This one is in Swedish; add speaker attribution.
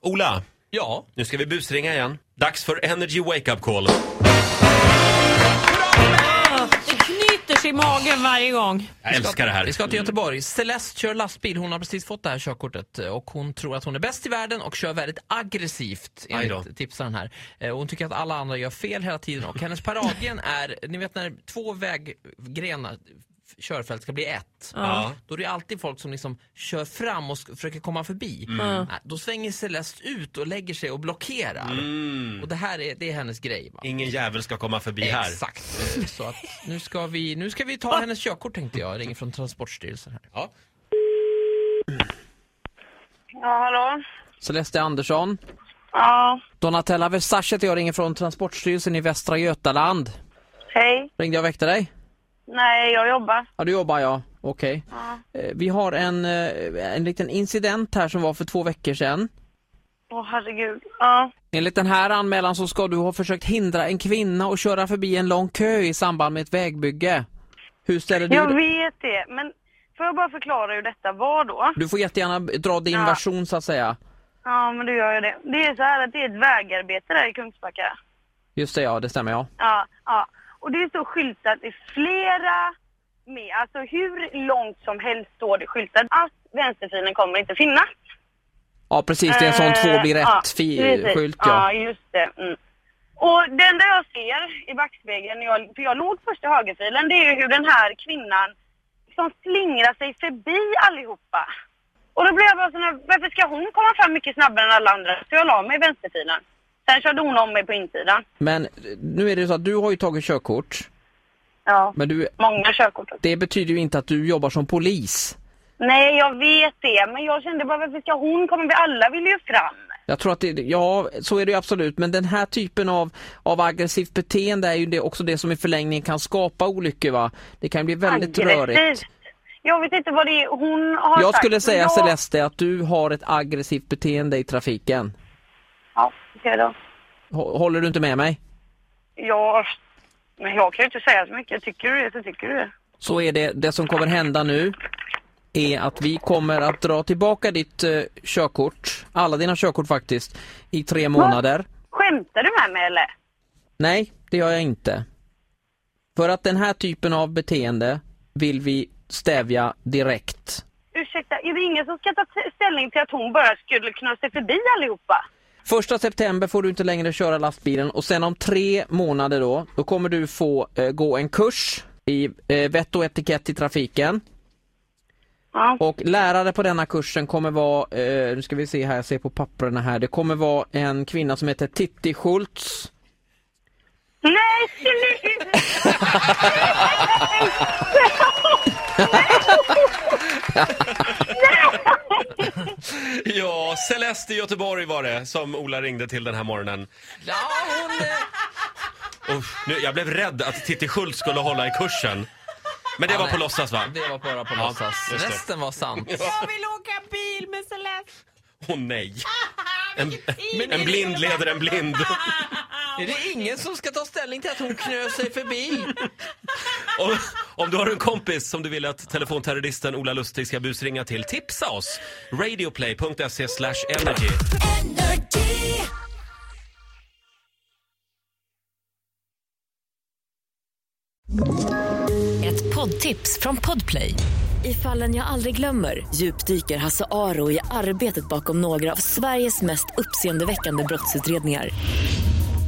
Speaker 1: Ola,
Speaker 2: Ja.
Speaker 1: nu ska vi busringa igen. Dags för Energy Wake Up Call.
Speaker 3: Det knyter sig i magen varje gång.
Speaker 1: Jag älskar det här.
Speaker 2: Vi ska till Göteborg. Celeste kör lastbil. Hon har precis fått det här körkortet eh, och hon tror att hon är bäst i världen och kör väldigt aggressivt
Speaker 1: Aj då.
Speaker 2: enligt tipsaren här. Eh, och Hon tycker att alla andra gör fel hela tiden och hennes paradgren är, ni vet när två väggrenar f- körfält ska bli ett.
Speaker 1: Ja.
Speaker 2: Då är det alltid folk som liksom kör fram och sk- försöker komma förbi.
Speaker 1: Mm.
Speaker 3: Ja.
Speaker 2: Nej, Då svänger Celeste ut och lägger sig och blockerar.
Speaker 1: Mm.
Speaker 2: Och det här är, det är hennes grej. Va?
Speaker 1: Ingen jävel ska komma förbi här. Ah.
Speaker 2: Exakt. Eh, Så att nu ska vi, nu ska vi ta hennes körkort tänkte jag. Jag ringer från Transportstyrelsen här.
Speaker 1: Ja.
Speaker 4: Ja, hallå?
Speaker 2: Celeste Andersson.
Speaker 4: Ja,
Speaker 2: Donatella Versace heter jag, ringer från Transportstyrelsen i Västra Götaland.
Speaker 4: hej.
Speaker 2: Ringde jag och väckte dig?
Speaker 4: Nej, jag jobbar.
Speaker 2: Ja, du jobbar jag. Okej.
Speaker 4: Ja.
Speaker 2: Eh, Vi har en, eh, en liten incident här som var för två veckor sedan.
Speaker 4: Åh, herregud. Ja,
Speaker 2: Enligt den här anmälan så ska du ha försökt hindra en kvinna och köra förbi en lång kö i samband med ett vägbygge. Hur ställer
Speaker 4: jag
Speaker 2: du
Speaker 4: vet det. Men får jag bara förklara hur detta var då?
Speaker 2: Du får jättegärna dra din
Speaker 4: Ja.
Speaker 2: version så att säga.
Speaker 4: Ja, men då gör jag det. Det är så här att det är ett vägarbete där i Kungsbacka.
Speaker 2: Just det, ja det stämmer ja.
Speaker 4: Ja, ja. Och det står skyltat i flera med. Alltså hur långt som helst står det skyltat att vänsterfilen kommer inte finnas.
Speaker 2: Ja precis, det är en sån två blir
Speaker 4: Eh, precis.
Speaker 2: rätt-skylt
Speaker 4: Ja,
Speaker 2: ja.
Speaker 4: just det. Mm. Och det enda jag ser i backspegeln, när jag, för jag låg först i högerfilen, det är ju hur den här kvinnan som slingrar sig förbi allihopa. Och då blev jag bara sån här, varför ska hon komma fram mycket snabbare än alla andra? Så jag la mig i vänsterfilen. Sen körde hon om mig på insidan.
Speaker 2: Men nu är det så att du har ju tagit körkort.
Speaker 4: Ja,
Speaker 2: Men du,
Speaker 4: många körkort.
Speaker 2: det betyder ju inte att du jobbar som polis.
Speaker 4: Nej, jag vet det, men jag kände bara varför ska hon komma? Vi alla vill ju fram.
Speaker 2: Jag tror att det, ja så är det ju absolut, men den här typen av, av aggressivt beteende är ju det, också det som i förlängningen kan skapa olyckor va? Det kan bli väldigt rörigt.
Speaker 4: Aggressivt. Jag vet inte vad det är hon har
Speaker 2: Jag
Speaker 4: sagt,
Speaker 2: skulle
Speaker 4: men
Speaker 2: säga
Speaker 4: jag...
Speaker 2: Celeste att du har ett aggressivt beteende i trafiken.
Speaker 4: Ja, okej då.
Speaker 2: Hå- Håller du inte med mig?
Speaker 4: Ja, men jag kan ju inte säga så mycket. Tycker du det så tycker du det.
Speaker 2: så är det, det som kommer hända nu är att vi kommer att dra tillbaka ditt eh, körkort, alla dina körkort faktiskt, i tre månader.
Speaker 4: Skämtar du med mig eller?
Speaker 2: Nej, det gör jag inte. För att den här typen av beteende vill vi stävja direkt.
Speaker 4: Ursäkta, är det ingen som ska ta t- ställning till att hon bara skulle kunna se förbi allihopa?
Speaker 2: Första september får du inte längre köra lastbilen och sen om tre månader då, då kommer du få eh, gå en kurs i eh, vett och etikett i trafiken.
Speaker 4: Ja.
Speaker 2: Och lärare på denna kursen kommer vara, eh, nu ska vi se här, jag ser på papperna här, det kommer vara en kvinna som heter Titti Schultz.
Speaker 4: Nej, sluta!
Speaker 1: Ja, Celeste i Göteborg var det som Ola ringde till den här morgonen.
Speaker 2: Ja, hon, eh,
Speaker 1: Usch, nu, jag blev rädd att Titti Schultz skulle hålla i kursen. Men det var på låtsas va?
Speaker 2: det var bara på låtsas.
Speaker 1: just det.
Speaker 2: Resten var sant.
Speaker 3: Jag vill åka bil med Celeste.
Speaker 1: Åh nej. En, en blind leder en blind.
Speaker 2: Är det ingen som ska ta ställning till att hon knöt sig förbi?
Speaker 1: Om, om du har en kompis som du vill att telefonterroristen Ola Lustig ska busringa till, tipsa oss! Radioplay.se E slash energy.
Speaker 5: Ett poddtips från Podplay. I fallen jag aldrig glömmer djupdyker Hasse Aro i arbetet bakom några av Sveriges mest uppseendeväckande brottsutredningar.